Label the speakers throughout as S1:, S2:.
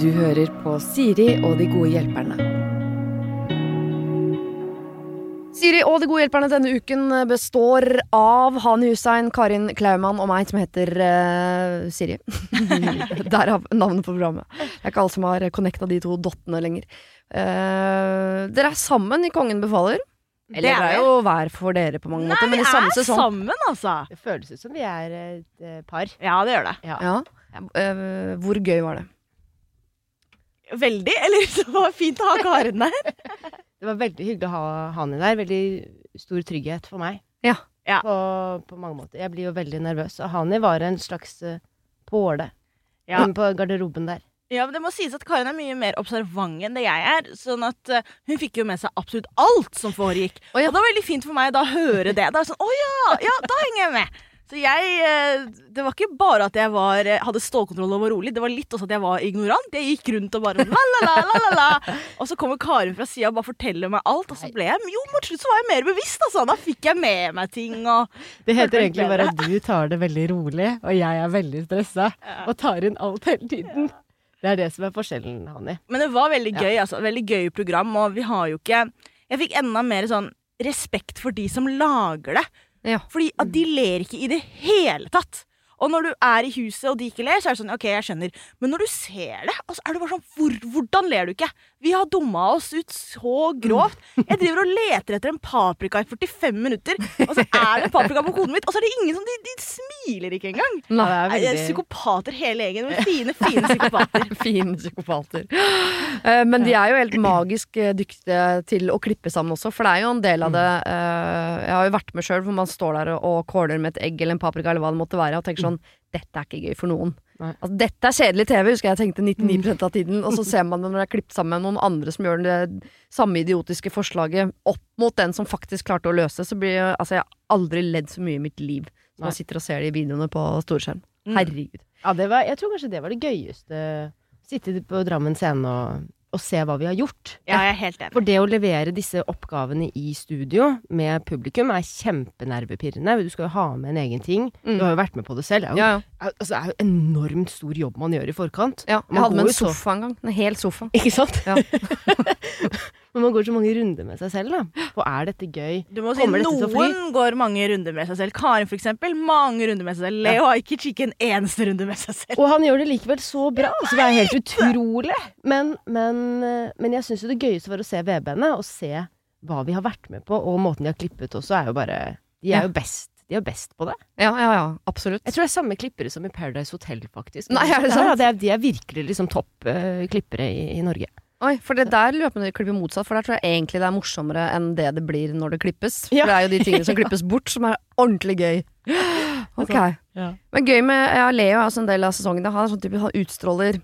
S1: Du hører på Siri og de gode hjelperne. Siri og de gode hjelperne denne uken består av Hani Hussein, Karin Klaumann og meg, som heter eh, Siri. Derav navnet på programmet. Det er ikke alle som har connecta de to dottene lenger. Eh, dere er sammen i Kongen befaler. Eller
S2: Det
S1: det
S2: er
S1: er,
S2: vi.
S1: jo hver for dere på mange måter, men i samme sesong.
S2: sammen, altså.
S3: Det føles ut som vi er et eh, par.
S2: Ja, det gjør det.
S1: Ja. Eh, hvor gøy var det?
S2: Veldig. Eller det var fint å ha Karen der.
S3: Det var veldig hyggelig å ha Hani der. Veldig stor trygghet for meg.
S1: Ja.
S2: Ja.
S3: På, på mange måter. Jeg blir jo veldig nervøs. Og Hani var en slags eh, påle
S2: Ja.
S3: inne på garderoben der.
S2: Ja, men det må sies at Karen er mye mer observant enn det jeg er. Sånn at eh, Hun fikk jo med seg absolutt alt som foregikk.
S1: Å, ja.
S2: Og det var veldig fint for meg da å høre det. Da er det sånn, å ja, ja, da henger jeg med. Så jeg, eh, Det var ikke bare at jeg var, eh, hadde stålkontroll og var rolig, det var litt også at jeg var ignorant. Jeg gikk rundt og bare la, la, la, la, la, la. Og så kommer Karen fra sida og bare forteller meg alt. Og så ble jeg, jo, mot slutt så var jeg mer bevisst. altså. Da fikk jeg med meg ting. og...
S3: Det
S2: heter egentlig bare
S3: at du tar det veldig rolig, og jeg er veldig stressa og tar inn alt hele tiden. Det er det som er forskjellen, Hani.
S2: Men det var veldig gøy, altså. Veldig gøy program, og vi har jo ikke Jeg fikk enda mer sånn respekt for de som lager det.
S1: Ja.
S2: Fordi at de
S3: Mm.
S2: ler ikke i det hele tatt. Og når du er i huset og de ikke ler, så er det sånn OK, jeg skjønner. Men når du ser det, altså, er du bare sånn hvor, Hvordan ler du ikke? Vi har dumma oss ut så grovt.
S3: Mm.
S2: Jeg driver og leter etter en paprika i 45 minutter, og så er det en paprika på hodet mitt, og så er det ingen som De, de smiler ikke engang.
S1: Nei.
S3: Ja, det er
S2: Jeg er
S3: veldig...
S2: Psykopater hele gjengen. men Fine, fine psykopater.
S1: Fine psykopater. Eh, Men de er jo helt magisk eh, dyktige til å klippe sammen også, for det er jo en del av det eh, Jeg har jo vært med sjøl hvor man står der og og corner med et egg eller en paprika eller hva det måtte være, og tenker sånn Dette er ikke gøy for noen.
S3: Nei.
S1: Altså, dette er kjedelig TV, husker jeg jeg tenkte 99 av tiden. Og så ser man det når det er klippet sammen med noen andre som gjør det samme idiotiske forslaget opp mot den som faktisk klarte å løse, så blir jeg Altså, jeg har aldri ledd så mye i mitt liv som
S3: Nei.
S1: jeg sitter og ser de videoene på storskjerm.
S2: Mm.
S1: Herregud.
S3: Ja, det var, jeg tror kanskje det var det gøyeste. Sitte på Drammen scene og, og se hva vi har gjort.
S2: Ja, jeg er helt enig.
S3: For det å levere disse oppgavene i studio med publikum er kjempenervepirrende. Du skal jo ha med en egen ting.
S1: Mm.
S3: Du har jo vært med på det selv. Det er jo,
S1: Ja, ja.
S3: altså, det er jo enormt stor jobb man gjør i forkant.
S1: Ja,
S3: Man
S1: jeg hadde
S3: går
S1: med en
S3: jo så-
S1: sofa en gang. En hel sofa.
S3: Ikke sant?
S1: Ja.
S3: Men man går så mange runder med seg selv, da. Og er dette gøy?
S2: Du må si
S3: Kommer dette til å fly?
S2: Noen går mange runder med seg selv. Karen for eksempel, mange runder med seg selv. Leo har ikke kikket en eneste runde med seg selv.
S3: Og han gjør det likevel så bra. Så det er helt utrolig. Men, men, eh, men jeg syns jo det gøyeste var å se VB-ene, og se hva vi har vært med på, og måten de har klippet også, er jo bare De
S1: Ja.
S3: er jo best. De er best på det.
S1: Ja, ja, ja, absolutt.
S3: Jeg tror det er samme klippere som i Paradise Hotel, faktisk.
S1: Nei, er det
S3: Ja,
S1: sant?
S3: ja, det er, de er virkelig liksom topp eh, klippere i, i Norge.
S1: Oi, for det der løpende klipper motsatt, for der tror jeg egentlig det er morsommere enn det det blir når det klippes. For
S3: Ja.
S1: det er jo de tingene som klippes bort, som er ordentlig gøy. Ok.
S3: Ja.
S1: Men gøy med ja, Leo er også en del av sesongen. Han, er sånn type, han utstråler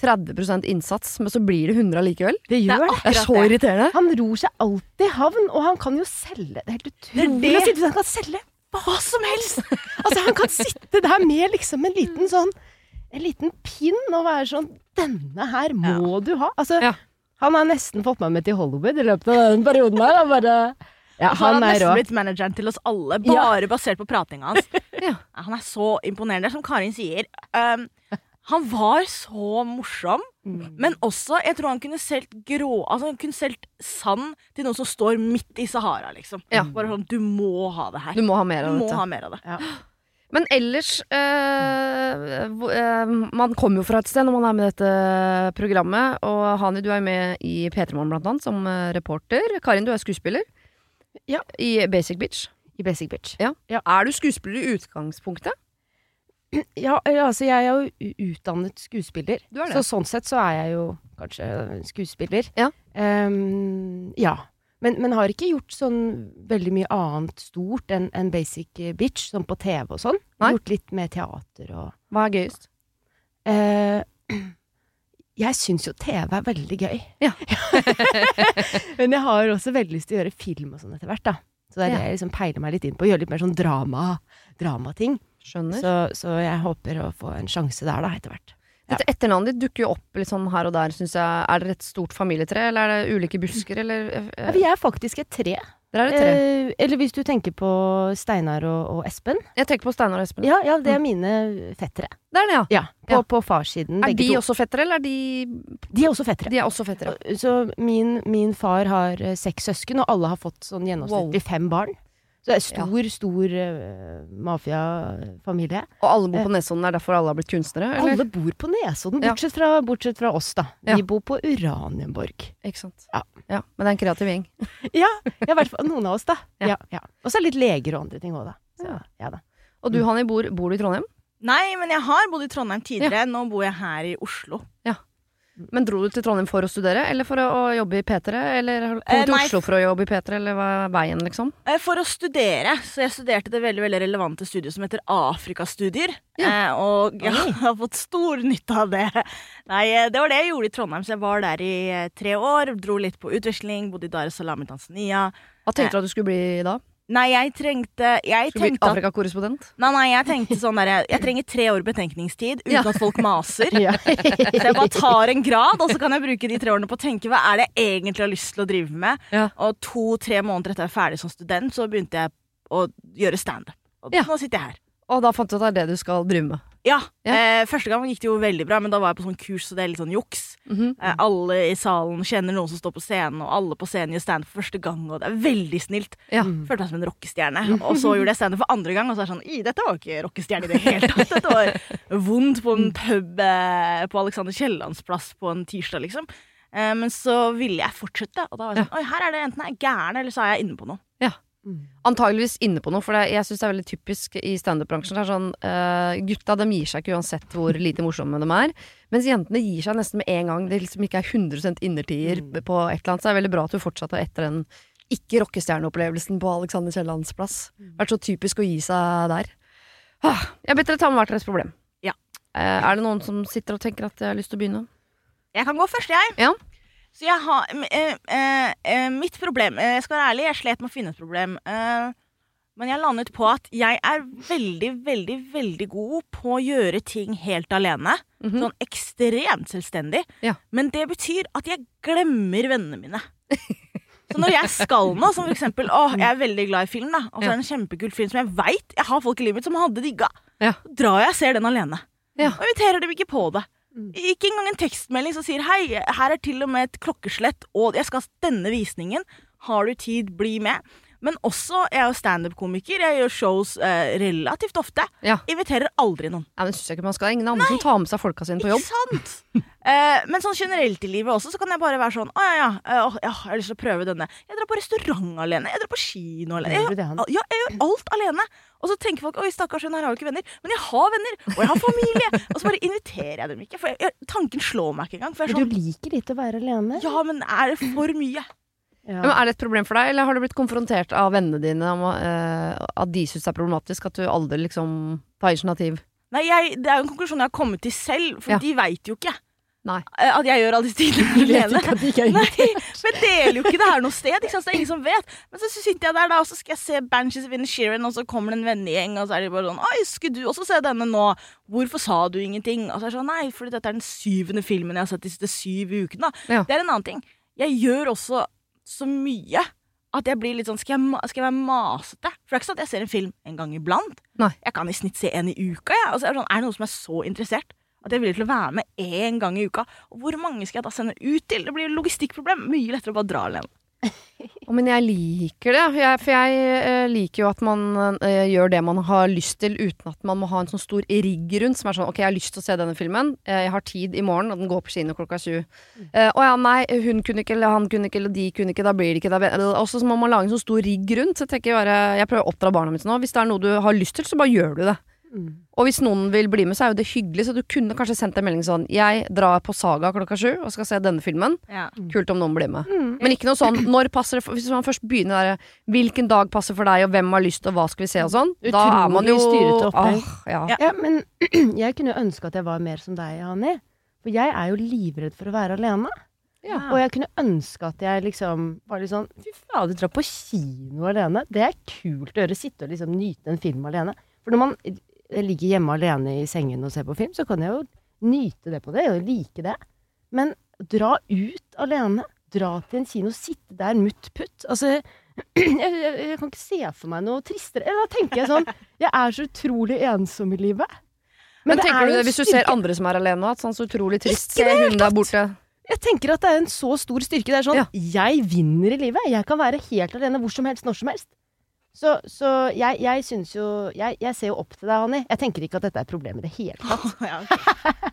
S1: 30 innsats, men så blir det 100 allikevel.
S3: Det
S2: Det
S3: gjør
S2: er
S3: det.
S1: Det er
S2: akkurat
S1: så
S2: det.
S1: irriterende.
S3: Han ror seg alltid i havn, og han kan jo selge. Det er helt utrolig
S2: Det er det.
S3: å sitte der. Han kan selge hva som helst! Altså, han kan sitte der med liksom en liten sånn En liten pinn og være sånn Denne her må du ha! Altså,
S1: Ja.
S3: han har nesten fått meg med til Hollywood i løpet av den perioden her. Han bare Ja,
S2: Så han har
S3: han er
S2: nesten
S3: rå.
S2: blitt manageren til oss alle,
S3: Ja.
S2: bare basert på pratinga hans.
S1: Ja.
S2: Ja, Han er så imponerende. Som Karin sier, ehm, han var så morsom, men også Jeg tror han kunne solgt grå Altså han kunne solgt sand til noen som står midt i Sahara, liksom.
S1: Ja.
S2: Bare sånn Du må ha det her.
S1: Du må ha mer
S2: Du
S1: av
S2: må
S1: dette.
S2: ha mer av det.
S1: Men ellers eh, hvor- eh, Man kommer jo fra et sted når man er med i dette programmet. Og Hani, du er jo med i P3 Morgen blant annet, som eh, reporter. Karin, du er skuespiller.
S3: Ja.
S1: I Basic Bitch.
S3: I Basic Bitch.
S1: Er du skuespiller i utgangspunktet?
S3: Ja, ja, altså, jeg er jo u- utdannet skuespiller.
S1: Du er det.
S3: Så sånn sett så er jeg jo kanskje skuespiller.
S1: Ja.
S3: Ehm, ja. Men, men har ikke gjort sånn veldig mye annet stort enn enn basic bitch, sånn på TV og sånn.
S1: Nei.
S3: Gjort litt mer teater og
S1: Hva er gøyest?
S3: Eh, Jeg syns jo TV er veldig gøy.
S1: Ja.
S3: men jeg har også veldig lyst til å gjøre film og sånn etter hvert, da. Så det er
S1: Ja.
S3: det jeg liksom peiler meg litt inn på. Gjøre litt mer sånn drama, dramating.
S1: Skjønner.
S3: Så, så jeg håper å få en sjanse der, da, etter hvert.
S1: Dette etternavnet ditt dukker jo opp litt sånn her og der, syns jeg. Er dere et stort familietre, eller er det ulike busker, eller eh,
S3: Ja, vi er faktisk et tre.
S1: Dere er det tre.
S3: Eh, eller hvis du tenker på Steinar og, og Espen.
S1: Jeg tenker på Steinar og Espen.
S3: Ja, ja, det er mine fettere.
S1: Det er det, ja.
S3: Ja, på,
S1: Ja.
S3: på farssiden.
S1: Er
S3: begge
S1: de
S3: to.
S1: også fettere, eller er de
S3: de er også fettere.
S1: De er også fettere.
S3: Så min, min far har eh, seks søsken, og alle har fått sånn gjennomsnittlig fem barn. Så det er stor, stor eh, mafiafamilie.
S1: Og alle bor på Nesodden, det er derfor alle har blitt kunstnere? Eller?
S3: Eh. Alle bor på Nesodden,
S1: Ja.
S3: bortsett fra, bortsett fra oss, da.
S1: Ja.
S3: Vi bor på Uranienborg.
S1: Ikke sant?
S3: Ja.
S1: ja. Men det er en kreativ gjeng.
S3: Ja, i hvert fall noen av oss, da.
S1: Ja.
S3: Ja, ja. Og så er det litt leger og andre ting òg, da. Så,
S1: Ja.
S3: ja da.
S1: Og du, Hanni, bor, bor du i Trondheim?
S2: Nei, men jeg har bodd i Trondheim tidligere. Nå bor jeg her i Oslo.
S1: Men dro du til Trondheim for å studere, eller for å, å jobbe i P3? Eller kom
S2: Eh,
S1: du til
S2: nei.
S1: Oslo for å jobbe i P3, eller hva er veien, liksom?
S2: Eh, For å studere, så jeg studerte det veldig veldig relevante studiet som heter Afrikastudier. Eh, og jeg har fått stor nytte av det. Nei, eh, Det var det jeg gjorde i Trondheim, så jeg var der i eh, tre år. Dro litt på utveksling, bodde i Dar es Salaam i Tanzania.
S1: Hva tenkte du at du skulle bli da?
S2: Nei, jeg trengte Jeg
S1: Skulle bli
S2: tenkte at
S1: Afrikakorrespondent?
S2: Nei, nei, jeg tenkte sånn der, jeg trenger tre år betenkningstid uten
S1: Ja.
S2: at folk maser.
S3: Ja.
S2: Så jeg bare tar en grad, og så kan jeg bruke de tre årene på å tenke hva er det jeg egentlig har lyst til å drive med.
S1: Ja.
S2: Og to-tre måneder etter jeg var ferdig som student, så begynte jeg å gjøre standup. Og
S1: Ja.
S2: nå sitter jeg her.
S1: Og da fant du at det er det du skal drive med.
S2: Ja,
S1: Ja.
S2: Eh, Første gang gikk det jo veldig bra, men da var jeg på sånn kurs, så det er litt sånn juks.
S1: Mhm.
S2: Eh, alle i salen kjenner noen som står på scenen, og alle på scenen gjør standup for første gang, og det er veldig snilt.
S1: Ja.
S2: Følte meg som en rockestjerne. Og så gjorde jeg standup for andre gang, og så er det sånn I, dette var ikke rockestjerne i det hele tatt. Dette var vondt på en pub eh, på Alexander Kiellands plass på en tirsdag, liksom. Eh, Men så ville jeg fortsette, og da var jeg sånn Oi, her er det enten jeg er gæren, eller så er jeg inne på noe. Mm.
S1: Antageligvis inne på noe, for det, jeg syns det er veldig typisk i standup-bransjen. Det er sånn, eh, Gutta de gir seg ikke uansett hvor lite morsomme de er. Mens jentene gir seg nesten med en gang det liksom ikke er 100 innertier på et eller annet. Så det er veldig bra at du fortsatte etter den ikke-rockestjerneopplevelsen på Alexander Kiellands plass. Vært så typisk å gi seg der. Ah, jeg ber dere ta med hvert deres problem.
S2: Ja.
S1: Eh, er det noen som sitter og tenker at jeg har lyst til å begynne?
S2: Jeg kan gå først, jeg.
S1: Ja.
S2: Så jeg har m- eh, eh, eh, Mitt problem eh, Jeg skal være ærlig, jeg slet med å finne et problem. eh, men jeg landet på at jeg er veldig, veldig, veldig god på å gjøre ting helt alene.
S1: Mhm.
S2: Sånn ekstremt selvstendig.
S1: Ja.
S2: Men det betyr at jeg glemmer vennene mine. Så når jeg skal nå, som for eksempel Å, jeg er veldig glad i film, da. Og så er det en kjempekul film som jeg veit jeg har folk i livet mitt som hadde digga.
S1: Ja.
S2: Så drar jeg og ser den alene.
S1: Ja.
S2: Og inviterer dem ikke på det.
S3: Mm.
S2: Ikke engang en tekstmelding som sier hei, her er til og med et klokkeslett, og jeg skal denne visningen. Har du tid, bli med. Men også, jeg er jo standup-komiker, jeg gjør shows eh, relativt ofte.
S1: Ja.
S2: Inviterer aldri noen.
S1: Nei, men synes jeg ikke man skal. Ingen andre som tar med seg folka sine på jobb.
S2: Ikke sant? Eh, men sånn generelt i livet også, så kan jeg bare være sånn Å ja, ja, eh, åh, ja, jeg har lyst til å prøve denne. Jeg drar på restaurant alene. Jeg drar på kino alene.
S3: Gjør du
S2: Jeg,
S3: det, han?
S2: ja, jeg gjør alt alene. Og så tenker folk oi, stakkars, hun her har jo ikke venner. Men jeg har venner, og jeg har familie. og så bare inviterer jeg dem ikke. For jeg, jeg, tanken slår meg ikke engang. For jeg
S3: Du
S2: er sånn
S3: liker litt å være alene?
S2: Ja, men er det for mye?
S3: Ja.
S1: Ja, men er det et problem for deg, eller har du blitt konfrontert av vennene dine om eh, at de syns det er problematisk at du aldri liksom tar initiativ?
S2: Nei, jeg, Det er jo en konklusjon jeg har kommet til selv, for
S1: Ja.
S2: de veit jo ikke
S1: Nei.
S2: eh, at jeg gjør alle disse tingene
S3: Jeg vet
S2: alene.
S3: ikke at de ikke er
S2: Nei, men jeg deler jo ikke det her noe sted. Ikke sant? Så det er ingen som vet Men så sitter jeg der, da og så skal jeg se Banshees of Inisherin, og så kommer det en vennegjeng, og så er de bare sånn Oi, skulle du også se denne nå? Hvorfor sa du ingenting? Og så er det sånn Nei, fordi dette er den syvende filmen jeg har sett de siste syv ukene. da."
S1: Ja.
S2: Det er en annen ting. Jeg gjør også så mye at jeg blir litt sånn Skal jeg, ma- skal jeg være masete? For det er ikke sånn at jeg ser en film en gang iblant.
S1: Nei.
S2: Jeg kan i snitt se en i uka. Jeg. Og så er, det sånn, er det noen som er så interessert at jeg er villig til å være med én gang i uka? Og hvor mange skal jeg da sende ut til? Det blir jo logistikkproblem. Mye lettere å bare dra alene.
S1: Å, Men jeg liker det, jeg, for jeg eh, liker jo at man eh, gjør det man har lyst til, uten at man må ha en sånn stor rigg rundt som er sånn Ok, jeg har lyst til å se denne filmen, eh, jeg har tid i morgen, og den går på kino klokka sju. Eh, Å ja, nei, hun kunne ikke, eller han kunne ikke, eller de kunne ikke, da blir det ikke da blir- eller, Også så må man lage en sånn stor rigg rundt. Så jeg tenker bare Jeg prøver å oppdra barna mine nå. Hvis det er noe du har lyst til, så bare gjør du det.
S3: Mm.
S1: Og hvis noen vil bli med, så er jo det hyggelig. Så du kunne kanskje sendt en melding sånn Jeg drar på Saga klokka sju og skal se denne filmen.
S3: Mm.
S1: Kult om noen blir med. Men ikke noe sånn når passer det for, Hvis man først begynner der Hvilken dag passer for deg, og hvem har lyst, og hva skal vi se, og sånn. Da er man jo
S3: Utrolig styrete opplegg.
S1: Åh, ja.
S2: Ja.
S3: Ja, men jeg kunne jo ønske at jeg var mer som deg, Hani. For jeg er jo livredd for å være alene.
S1: Ja.
S3: Og jeg kunne ønske at jeg liksom var litt sånn Fy fader, dra på kino alene. Det er kult å gjøre. Sitte og liksom nyte en film alene. For når man eh, ligger hjemme alene i sengen og ser på film, så kan jeg jo nyte det på det. Og like det. Men dra ut alene. Dra til en kino. Sitte der mutt putt. Altså, jeg, jeg, jeg kan ikke se for meg noe tristere. Eller Da tenker jeg sånn Jeg er så utrolig ensom i livet.
S1: Men,
S3: er
S1: tenker
S3: jo
S1: du
S3: en
S1: det hvis du
S3: styrke.
S1: ser andre som er alene, at sånn så utrolig trist
S3: Ikke
S1: Se
S3: det
S1: hun der borte.
S3: Jeg tenker at det er en så stor styrke. Det er sånn
S1: Ja.
S3: Jeg vinner i livet. Jeg kan være helt alene hvor som helst, når som helst. Så, så jeg, jeg syns jo jeg, jeg ser jo opp til deg, Hanni. Jeg tenker ikke at dette er et problem i det hele tatt.
S2: Ja, ok.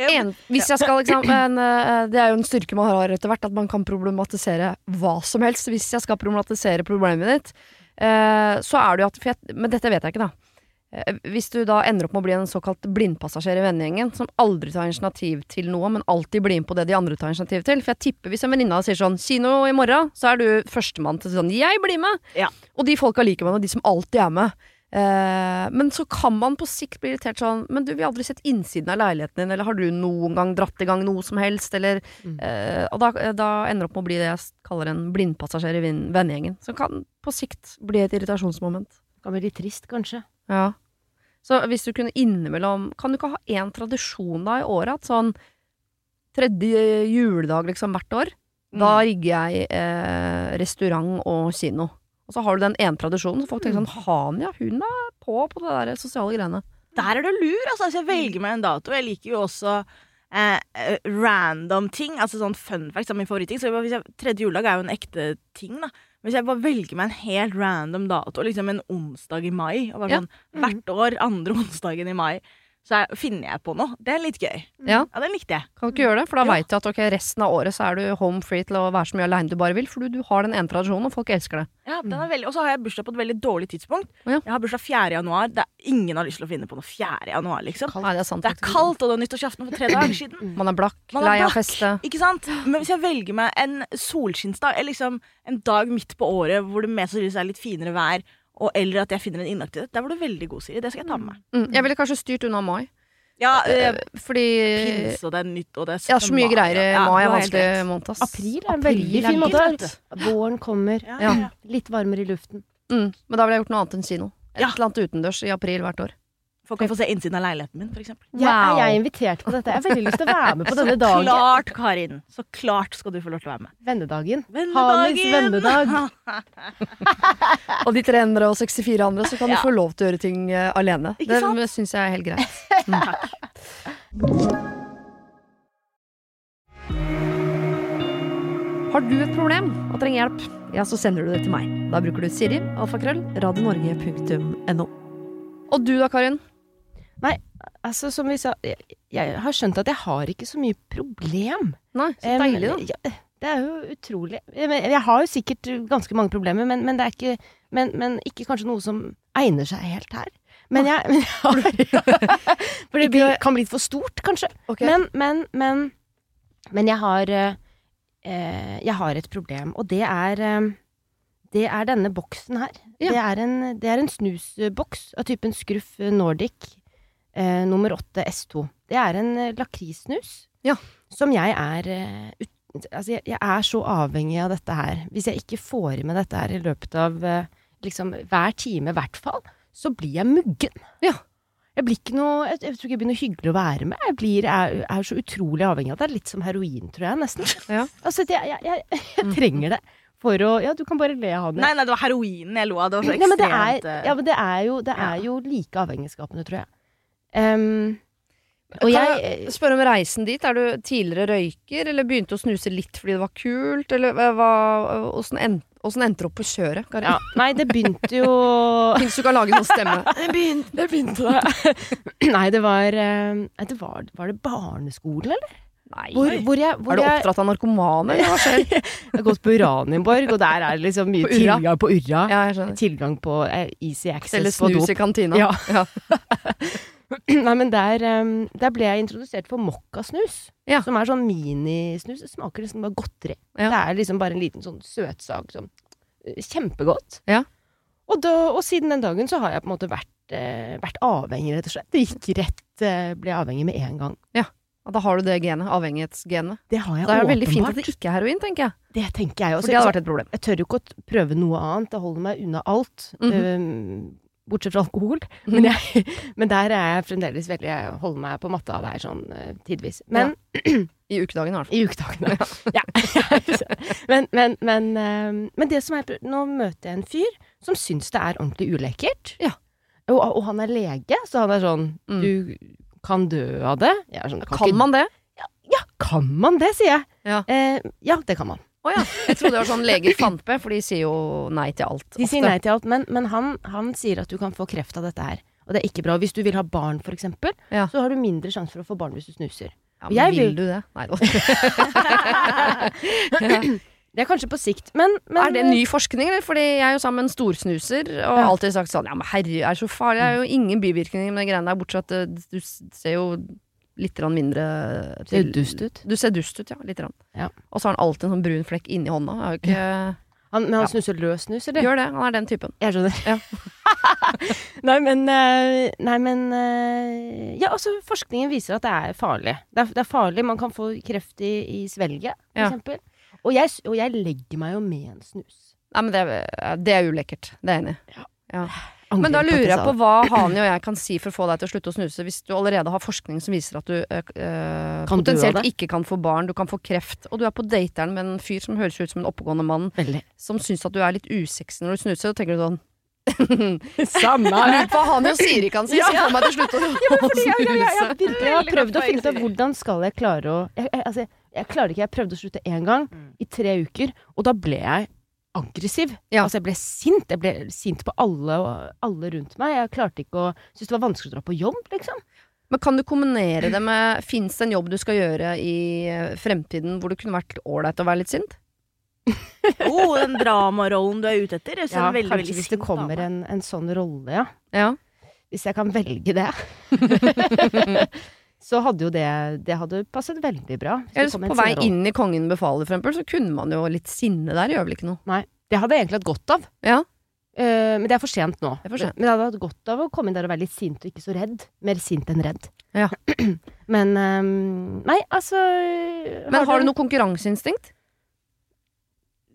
S2: Jeg-
S1: En, hvis jeg skal liksom en, eh, Det er jo en styrke man har etter hvert, at man kan problematisere hva som helst. Hvis jeg skal problematisere problemet ditt, eh, så er det jo at for jeg, Men dette vet jeg ikke, da. Eh, Hvis du da ender opp med å bli en såkalt blindpassasjer i vennegjengen, som aldri tar initiativ til noe, men alltid blir med på det de andre tar initiativ til. For jeg tipper hvis en venninne sier sånn 'kino i morgen', så er du førstemann til sånn 'jeg blir med'.
S2: Ja.
S1: Og de folka liker man, og de som alltid er med. Eh, men så kan man på sikt bli irritert sånn Men du, vi har aldri sett innsiden av leiligheten din, eller har du noen gang dratt i gang noe som helst, eller
S3: Mm.
S1: eh, Og da, da ender det opp med å bli det jeg kaller en blindpassasjer i vin- vennegjengen, som kan på sikt bli et irritasjonsmoment.
S3: Kan bli litt trist, kanskje.
S1: Ja. Så hvis du kunne innimellom Kan du ikke ha én tradisjon da i året? At sånn tredje juledag liksom hvert år,
S2: Mm.
S1: da rigger jeg eh, restaurant og kino. Og så har du den ene tradisjonen, så folk tenker sånn Han ja, hun er på på det der sosiale greiene.
S2: Der er du lur, altså. altså. Jeg velger meg en dato. Jeg liker jo også eh, eh, random ting. Altså sånn fun facts er min favoritting. Så hvis jeg, tredje juledag er jo en ekte ting, da. Hvis jeg bare velger meg en helt random dato, liksom en onsdag i mai og bare
S1: Ja. Mm.
S2: sånn, Hvert år, andre onsdagen i mai, så er, finner jeg på noe. Det er litt gøy.
S1: Ja.
S2: Ja, den likte jeg.
S1: Kan du ikke gjøre det? For da
S2: Jo.
S1: veit du at ok, resten av året så er du home free til å være så mye aleine du bare vil, for du, du har den ene tradisjonen, og folk elsker det.
S2: Ja, den er veldig, Og så har jeg bursdag på et veldig dårlig tidspunkt.
S1: Mm. Å, ja.
S2: Jeg har bursdag 4. januar. Det er, ingen har lyst til å finne på noe 4. januar, liksom.
S1: Nei, det er sant.
S2: Det er
S1: faktisk.
S2: kaldt, og det er nyttårsaften for tre dager siden.
S1: Man er blakk,
S2: Man er
S1: lei av
S2: blakk.
S1: feste.
S2: Ikke sant? Men hvis jeg velger meg en solskinnsdag, eller liksom en dag midt på året hvor det mest sannsynligvis er litt finere vær, og eller at jeg finner en inaktivitet, der var du veldig god, Siri. Det skal jeg ta med meg.
S1: Mm. Jeg ville kanskje styrt unna mai,
S2: Ja, eh,
S1: fordi
S2: pins, og det er nytt, og det er
S1: eh, Ja, så mye
S2: mai,
S1: greier i
S2: ja.
S1: mai. er
S2: Ja, du har helt
S1: vanskelig
S2: rett.
S1: måned, ass.
S3: April er en
S1: April
S3: veldig
S1: er
S3: fin måte.
S1: digg,
S3: vet du. Våren kommer.
S2: Ja,
S1: Ja.
S2: ja. ja.
S3: Litt varmere i luften.
S1: Mm, men da ville jeg gjort noe annet enn kino. Et
S2: Ja.
S1: eller annet utendørs i april hvert år.
S2: Folk kan få se innsiden av leiligheten min, for eksempel.
S3: Jeg,
S1: Wow.
S3: Er jeg invitert på dette? Jeg har veldig lyst til å være med på denne
S2: Så
S3: dagen.
S2: klart, Karin. Så klart skal du få lov til å være med.
S3: Vennedagen. Hannes
S2: Vennedagen!
S3: vennedag.
S1: Og de tre andre og 64 andre, så kan
S2: Ja.
S1: du få lov til å gjøre ting eh, alene.
S2: Ikke
S1: Det
S2: sant?
S1: syns jeg er helt greit. Mm.
S2: Takk.
S1: Har du et problem og trenger hjelp, ja, så sender du det til meg. Da bruker du Siri, alfakrøll, radionorge.no. Og du da, Karin?
S3: Altså, som vi sa, jeg, jeg har skjønt at jeg har ikke så mye problem.
S1: Nei, så
S3: Em,
S1: deilig, da.
S3: Eh, ja, det er jo utrolig. Jeg, men- jeg har jo sikkert ganske mange problemer, men, men det er ikke men, men ikke kanskje noe som egner seg helt her. Men jeg, men jeg har For det blir, kan bli litt for stort, kanskje.
S1: Ok.
S3: Men, men, men Men jeg har eh, eh, Jeg har et problem, og det er eh, det er denne boksen her.
S1: Ja.
S3: Det, er en, det er en snusboks av typen Scruff Nordic eh, nummer 8 S2. Det er en eh, lakrissnus
S1: Ja.
S3: som jeg er eh, ut, Altså, jeg, jeg er så avhengig av dette her. Hvis jeg ikke får i meg dette her i løpet av eh, liksom hver time, i hvert fall, så blir jeg muggen.
S1: Ja.
S3: Jeg blir ikke noe Jeg, jeg tror ikke jeg blir noe hyggelig å være med. Jeg blir, er, er så utrolig avhengig av det. Det er Litt som heroin, tror jeg, nesten.
S1: Ja.
S3: Altså, jeg, jeg, jeg, jeg trenger det for å Ja, du kan bare le av det.
S2: Nei, nei, det var heroinen jeg lo av. Det var så
S3: Nei, men det
S2: ekstremt
S3: er,
S2: eh,
S3: ja, men det er, jo, det er
S2: ja.
S3: jo like avhengighetsskapende, tror jeg. Ehm, og
S1: Kan
S3: jeg,
S1: jeg spørre om reisen dit. Er du tidligere røyker, eller begynte å snuse litt fordi det var kult, eller eh, hva Åssen en- åssen endte du opp på kjøret, Karin?
S3: ja, Nei, det begynte jo
S1: Fins du kan lage noen stemme?
S3: Det begynte det. Nei, det var eh, nei, det var, var det barneskolen, eller?
S1: Nei.
S3: Hvor, hvor jeg, hvor
S1: er du
S3: jeg,
S1: oppdratt av narkomane, eller hva skjer?
S3: jeg har gått på Uranienborg, og der er det liksom mye
S1: På Urra.
S3: tilgang på Urra.
S1: Ja, jeg skjønner.
S3: Tilgang på eh, easy
S1: Selge
S3: access på
S1: snus
S3: dop.
S1: i kantina.
S3: Ja.
S1: Ja.
S3: Nei, men der, eh, der ble jeg introdusert for mokkasnus.
S1: Ja.
S3: Som er sånn minisnus. Det smaker liksom bare godteri.
S1: Ja.
S3: Det er liksom bare en liten sånn søtsak. Sånn. eh, Kjempegodt.
S1: Ja.
S3: Og, da, og siden den dagen så har jeg på en måte vært, eh, vært avhengig, rett og slett. Det gikk rett, eh, ble avhengig med en gang.
S1: Ja, Da har du det genet, avhengighetsgenet.
S3: Det har jeg
S1: Da er det veldig fint
S3: åpenbart.
S1: at det ikke er heroin, tenker jeg.
S3: det, tenker jeg
S1: For
S3: også.
S1: det hadde vært et problem.
S3: Jeg tør jo ikke å prøve noe annet. Jeg holder meg unna alt.
S1: Mhm.
S3: Um, Bortsett fra alkohol. Men, jeg, men der er jeg fremdeles veldig Jeg holder meg på matta der sånn eh, tidvis. Men
S1: I ukedagen, i hvert fall.
S3: i ukedagene. Ja. men, men, men, eh, men det som er Nå møter jeg en fyr som syns det er ordentlig ulekkert.
S1: Ja.
S3: Og, og han er lege, så han er sånn
S1: Mm.
S3: Du kan dø av det. Jeg er sånn,
S1: Kan man det?
S3: Ja, kan man det, sier jeg.
S1: Ja.
S3: eh, ja det kan man.
S1: Å ja. Jeg trodde det var sånn leger fantpe, for de sier jo nei til alt.
S3: De sier
S1: ofte.
S3: nei til alt, men, men han, han sier at du kan få kreft av dette her. Og det er ikke bra. Hvis du vil ha barn, for eksempel,
S1: Ja.
S3: så har du mindre sjanse for å få barn hvis du snuser.
S1: Ja, men
S3: Jeg
S1: vil,
S3: vil-
S1: du det? Nei da.
S3: Det er kanskje på sikt, men, men eh,
S1: Er det ny forskning, eller? Fordi jeg er jo sammen med en storsnuser og har alltid sagt sånn Ja, men herre, er det så farlig? Det er jo ingen bivirkninger med de greiene der, bortsett fra at eh, du s- ser jo litt grann mindre
S3: Ser jo dust ut.
S1: Du ser dust ut, ja. Litt. grann.
S3: Ja.
S1: Og så har han alltid en sånn brun flekk inni hånda. Er jo ikke,
S3: Han, men han
S1: Ja.
S3: snuser løs snus, eller?
S1: Gjør det. Han er den typen.
S3: Jeg skjønner. nei, men, eh, nei, men eh, Ja, altså, forskningen viser at det er farlig. Det er, det er farlig. Man kan få kreft i, i svelget, for
S1: Ja.
S3: eksempel. Og jeg, s- og jeg legger meg jo med en snus.
S1: Nei, men det, er- eh, det er ulekkert. Det er jeg enig i. Men da
S3: Angrer at
S1: lurer jeg
S3: sa
S1: på
S3: det.
S1: hva Hani og jeg kan si for å få deg til å slutte å snuse, hvis du allerede har forskning som viser at du eh, eh,
S3: Kan dø av
S1: potensielt
S3: det.
S1: ikke kan få barn, du kan få kreft, og du er på dateren med en fyr som høres ut som en oppegående mann,
S3: Veldig.
S1: som syns at du er litt usexy når du snuser, og tenker du sånn
S3: Samme
S1: Lurer på hva Hani og Siri kan si, så får meg til slutt å
S3: ja, ja, ja, ja,
S1: snuse.
S3: virkelig. Jeg har
S2: Veldig godt
S3: prøvd å
S2: poeng,
S3: finne ut av
S2: Siri.
S3: hvordan skal jeg klare å jeg, jeg, altså, jeg, jeg klarer ikke. Jeg prøvde å slutte én gang
S2: Mm.
S3: i tre uker, og da ble jeg aggressiv.
S1: Ja.
S3: Altså, jeg ble sint. Jeg ble sint på alle, og- alle rundt meg. Jeg klarte ikke å Syntes det var vanskelig å dra på jobb, liksom.
S1: Men kan du kombinere det med Fins det en jobb du skal gjøre i eh, fremtiden hvor det kunne vært ålreit å være litt sint?
S2: Oh, den dramarollen du er ute etter. Jeg ser
S3: Ja,
S2: en veldig,
S3: kanskje
S2: veldig
S3: hvis det
S2: sint
S3: kommer
S2: dame.
S3: en, en sånn rolle, ja.
S1: Ja.
S3: Hvis jeg kan velge det. så hadde jo det Det hadde passet veldig bra. Hvis det
S1: Eller så
S3: kom en
S1: på vei
S3: sånn rolle.
S1: inn i Kongen befaler, for eksempel, så kunne man jo litt sinne der, gjør vel ikke noe?
S3: Det hadde jeg egentlig hatt godt av.
S1: Ja.
S3: Eh, men det er for sent nå.
S1: Det er for sent.
S3: Men jeg hadde hatt godt av å komme inn der og være litt sint og ikke så redd. Mer sint enn redd.
S1: Ja.
S3: men ehm, Nei, altså har
S1: Men har du noe konkurranseinstinkt?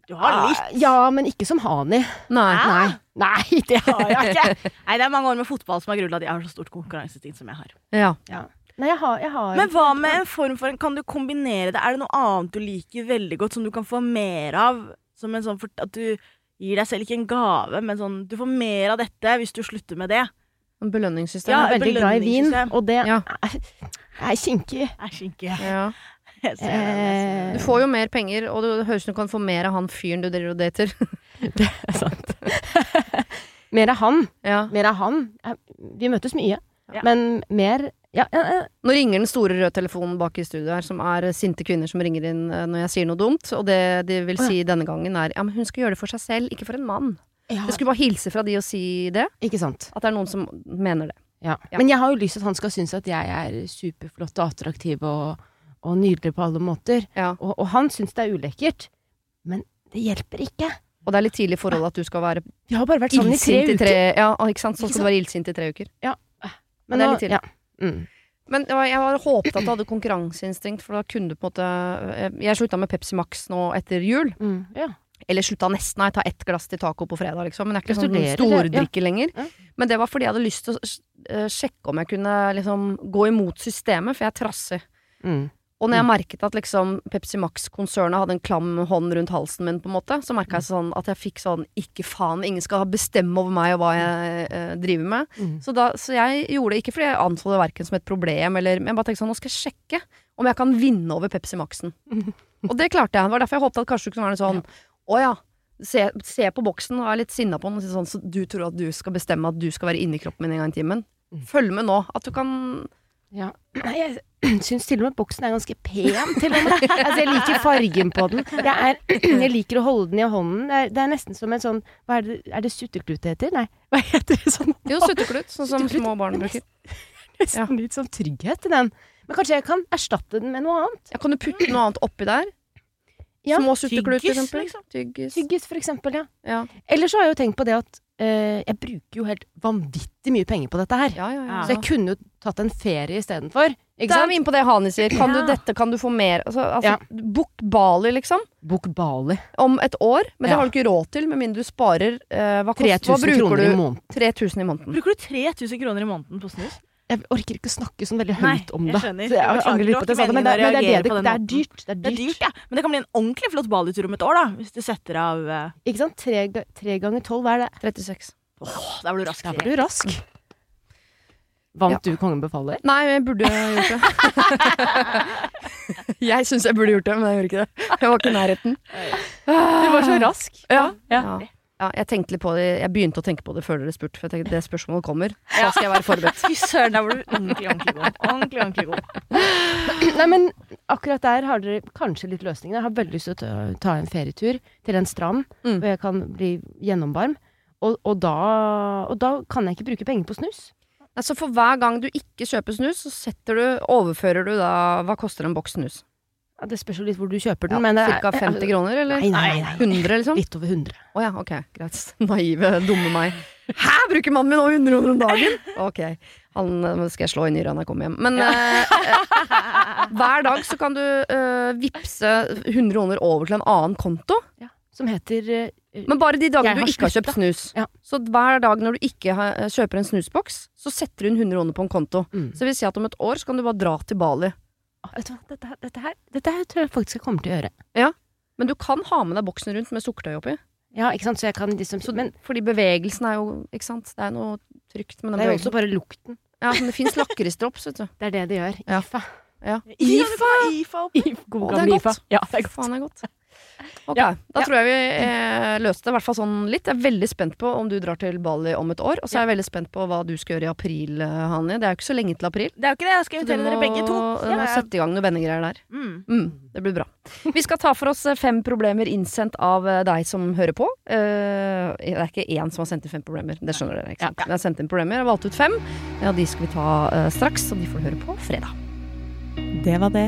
S2: Du har litt. Ah,
S3: Ja, men ikke som Hani.
S1: Nei.
S2: Hæ?
S3: Ah, Nei. Nei, det har jeg ikke.
S2: ah, Nei, det er mange år med fotball som har grunnet at jeg har så stort konkurranseinstinkt som jeg har.
S1: Ja.
S3: Nei, jeg har, jeg har
S2: Men hva med en form for en Kan du kombinere det? Er det noe annet du liker veldig godt, som du kan få mer av? Som en sånn for, At du gir deg selv ikke en gave, men sånn Du får mer av dette hvis du slutter med det.
S1: En
S3: Jeg
S1: belønningssystem.
S2: Ja.
S3: er veldig glad i vin,
S2: belønningssystem.
S3: og det
S1: Ja.
S3: er, er kinkig.
S2: Æsj, ikke.
S1: Ja.
S2: Jeg ser den, jeg ser
S1: Du
S3: Eh.
S2: den.
S1: får jo mer penger, og det høres ut som du kan få mer av han fyren du driver og dater.
S3: Det er sant. mer av han.
S1: Ja.
S3: Mer av han. Jeg- Vi møtes mye,
S2: Ja.
S3: men mer ja, ja, ja.
S1: Nå ringer den store røde telefonen bak i studio her, som er eh, sinte kvinner som ringer inn eh, når jeg sier noe dumt, og det de vil si denne gangen er ja, men hun skal gjøre det for seg selv, ikke for en mann.
S3: Ja,
S1: Jeg skulle bare hilse fra de og si det,
S3: Ikke sant.
S1: at det er noen som mener det.
S3: Ja.
S1: Ja.
S3: Men jeg har jo lyst til at han skal synes at jeg er superflott og attraktiv og, og nydelig på alle måter.
S1: Ja.
S3: Og, og han syns det er ulekkert. Men det hjelper ikke.
S1: Og det er litt tidlig i forholdet
S3: Ah.
S1: at du skal være
S3: Vi har bare vært sammen sånn i tre
S1: ildsint i
S3: uker.
S1: tre Ja, ikke sant. Sånn
S3: Ikke
S1: skal du være ildsint i tre uker.
S3: Men
S1: det er
S3: nå-
S1: litt tidlig.
S3: Ja. Mm.
S1: Men det var- jeg hadde håpet at du hadde konkurranseinstinkt, for da kunne du på en måte eh, Jeg slutta med Pepsi Max nå etter jul.
S3: Mm. Ja.
S1: Eller slutta nesten, nei, ta ett glass til taco på fredag, liksom. Men jeg er ikke sånn
S3: Gratulerer,
S1: stordrikker lenger.
S3: Ja.
S1: Men det var fordi jeg hadde lyst til å s- eh, sjekke om jeg kunne liksom gå imot systemet, for jeg er trassig.
S3: Mm.
S1: Og når jeg merket at liksom Pepsi Max-konsernet hadde en klam hånd rundt halsen min, på en måte, så merka
S3: Mm.
S1: jeg sånn at jeg fikk sånn ikke faen, ingen skal bestemme over meg og hva jeg eh, driver med.
S3: Mm.
S1: Så, da, så jeg gjorde det ikke fordi jeg anså det verken som et problem, eller men jeg bare tenkte sånn, nå skal jeg sjekke om jeg kan vinne over Pepsi Max-en. og det klarte jeg. Det var derfor jeg håpte at kanskje du kunne være sånn, å ja. Se, se på boksen og er litt sinna på den. Og si sånn, så du tror at du skal bestemme at du skal være inni kroppen min en gang i timen?
S3: Mm.
S1: Følg med nå. At du kan
S3: Ja. Nei, jeg syns til og med boksen er ganske pen, til og med. Altså, jeg liker fargen på den. Jeg, er, jeg liker å holde den i hånden. Det er, det er nesten som en sånn hva er, det, er det sutteklut det heter? Nei, hva heter det sånn?
S1: Jo, sutteklut, sånn som
S3: Sutteklut.
S1: små barn bruker.
S3: Nesten litt sånn trygghet i den. Men kanskje jeg kan erstatte den med noe annet?
S1: Ja, kan du putte noe annet oppi der?
S3: Ja,
S1: Små sutteklut, for
S2: tyggis,
S1: eksempel.
S2: liksom.
S1: Tyggis.
S3: Tyggis, for eksempel. Ja.
S1: Ja.
S3: Eller så har jeg jo tenkt på det at eh, Jeg bruker jo helt vanvittig mye penger på dette her.
S1: Ja, ja, ja.
S2: Ja.
S3: Så jeg kunne jo tatt en ferie istedenfor. Ikke
S1: Da er vi
S3: sant?
S1: inne på det Hani sier. Kan
S2: Ja.
S1: du dette, kan du få mer? Altså, altså,
S3: Ja.
S1: Book Bali, liksom.
S3: Bok Bali.
S1: Om et år. Men det
S3: Ja.
S1: har du ikke råd til, med mindre du sparer eh, hva, kost, hva
S3: 3000
S1: bruker
S3: kroner
S1: du?
S3: i måneden.
S1: 3000 i måneden.
S2: Bruker du 3000 kroner i måneden på snus?
S3: Jeg orker ikke snakke sånn veldig
S2: Nei,
S3: høyt om
S2: jeg
S3: det.
S2: skjønner.
S3: Så jeg
S2: Jeg beklager,
S3: angrer litt på at jeg sa det, men det,
S2: det var ikke meningen å
S3: men det er det
S2: reagere
S3: det
S2: på den
S3: er dyrt. Det er
S2: Det er
S3: dyrt.
S2: dyrt, ja. Men det kan bli en ordentlig flott Bali-tur om et år, da. Hvis du setter av eh,
S3: Ikke sant? Tre, ga- tre ganger tolv, hva er det?
S1: 36.
S2: Åh, der ble du rask.
S3: Da
S2: Siri.
S3: var du rask. Vant du Kongen befaler?
S1: Nei, men jeg burde gjort det. jeg syns jeg burde gjort det, men jeg gjorde ikke det. Jeg var ikke i nærheten.
S3: Du var så rask.
S1: Ja.
S3: Ja.
S1: Ja. Ja, jeg, tenkte litt på det. jeg begynte å tenke på det før dere spurte, for jeg tenkte det spørsmålet kommer. Da skal jeg være forberedt.
S2: Fy søren, der var du ordentlig, ordentlig god. Ordentlig, ordentlig god.
S3: Nei, men akkurat der har dere kanskje litt løsninger. Jeg har veldig lyst til å ta- ta en ferietur til en strand
S1: Mm.
S3: hvor jeg kan bli gjennomvarm. Og, og, da, og da kan jeg ikke bruke penger på snus.
S1: Nei, Så for hver gang du ikke kjøper snus, så setter du, overfører du da Hva koster en boks snus?
S3: Ja, det spørs jo litt hvor du kjøper
S1: Ja,
S3: den, men det er- altså,
S1: Cirka 50 kroner, eller?
S3: Nei, nei, nei.
S1: 100, liksom?
S3: Litt over 100.
S1: Å ja, ok, greit. Naive, dumme meg. Hæ, bruker mannen min nå 100 kroner om dagen?! Ok, han eh, skal jeg slå i nyra når jeg kommer hjem. Men eh, eh, hver dag så kan du eh, vippse 100 kroner over til en annen konto.
S3: Som heter eh,
S1: Men bare de
S3: Jeg
S1: dagene du
S3: har
S1: ikke har kjøpt
S3: sluttet.
S1: snus.
S3: Ja.
S1: Så hver dag når du ikke har, eh, kjøper en snusboks, så setter du inn 100 kroner på en konto.
S3: Mm.
S1: Så det vil si at om et år så kan du bare dra til Bali.
S3: Vet du hva, dette, her- dette, her, dette her tror jeg faktisk jeg kommer til å gjøre.
S1: Men du kan ha med deg boksen rundt med sukkertøy oppi.
S3: Ja, ikke sant, så jeg kan liksom
S1: Så,
S3: Men
S1: fordi bevegelsen er jo Ikke sant? Det er noe trygt med den
S3: det er jo også
S1: bevegelsen.
S3: bare lukten.
S1: Ja, men det fins lakrisdrops, vet du.
S3: Det er det det gjør.
S1: Ja.
S3: IFA.
S1: Ja.
S2: IFA! IFA opp.
S3: God
S1: Å, det er
S3: gammel
S1: godt.
S3: IFA. Ja, det er
S1: Fy Faen det er godt. Ok,
S3: Ja,
S1: Da
S3: ja.
S1: tror jeg vi eh, løste det, i hvert fall sånn litt. Jeg er veldig spent på om du drar til Bali om et år. Og så er jeg veldig spent på hva du skal gjøre i april, eh, Hani. Det er jo ikke så lenge til april.
S2: Det er jo ikke det. Jeg skal
S1: Så du
S2: invitere
S1: må,
S2: dere begge
S1: du
S2: to.
S1: må
S2: Ja,
S1: sette i gang noen vennegreier der.
S2: mm.
S1: Mm, det blir bra. Vi skal ta for oss eh, fem problemer innsendt av eh, deg som hører på. Eh, det er ikke én som har sendt inn fem problemer, det skjønner dere. ikke sant? Vi har sendt inn problemer og valgt ut fem. Ja, de skal vi ta eh, straks, og de får du høre på fredag.
S4: Det var det.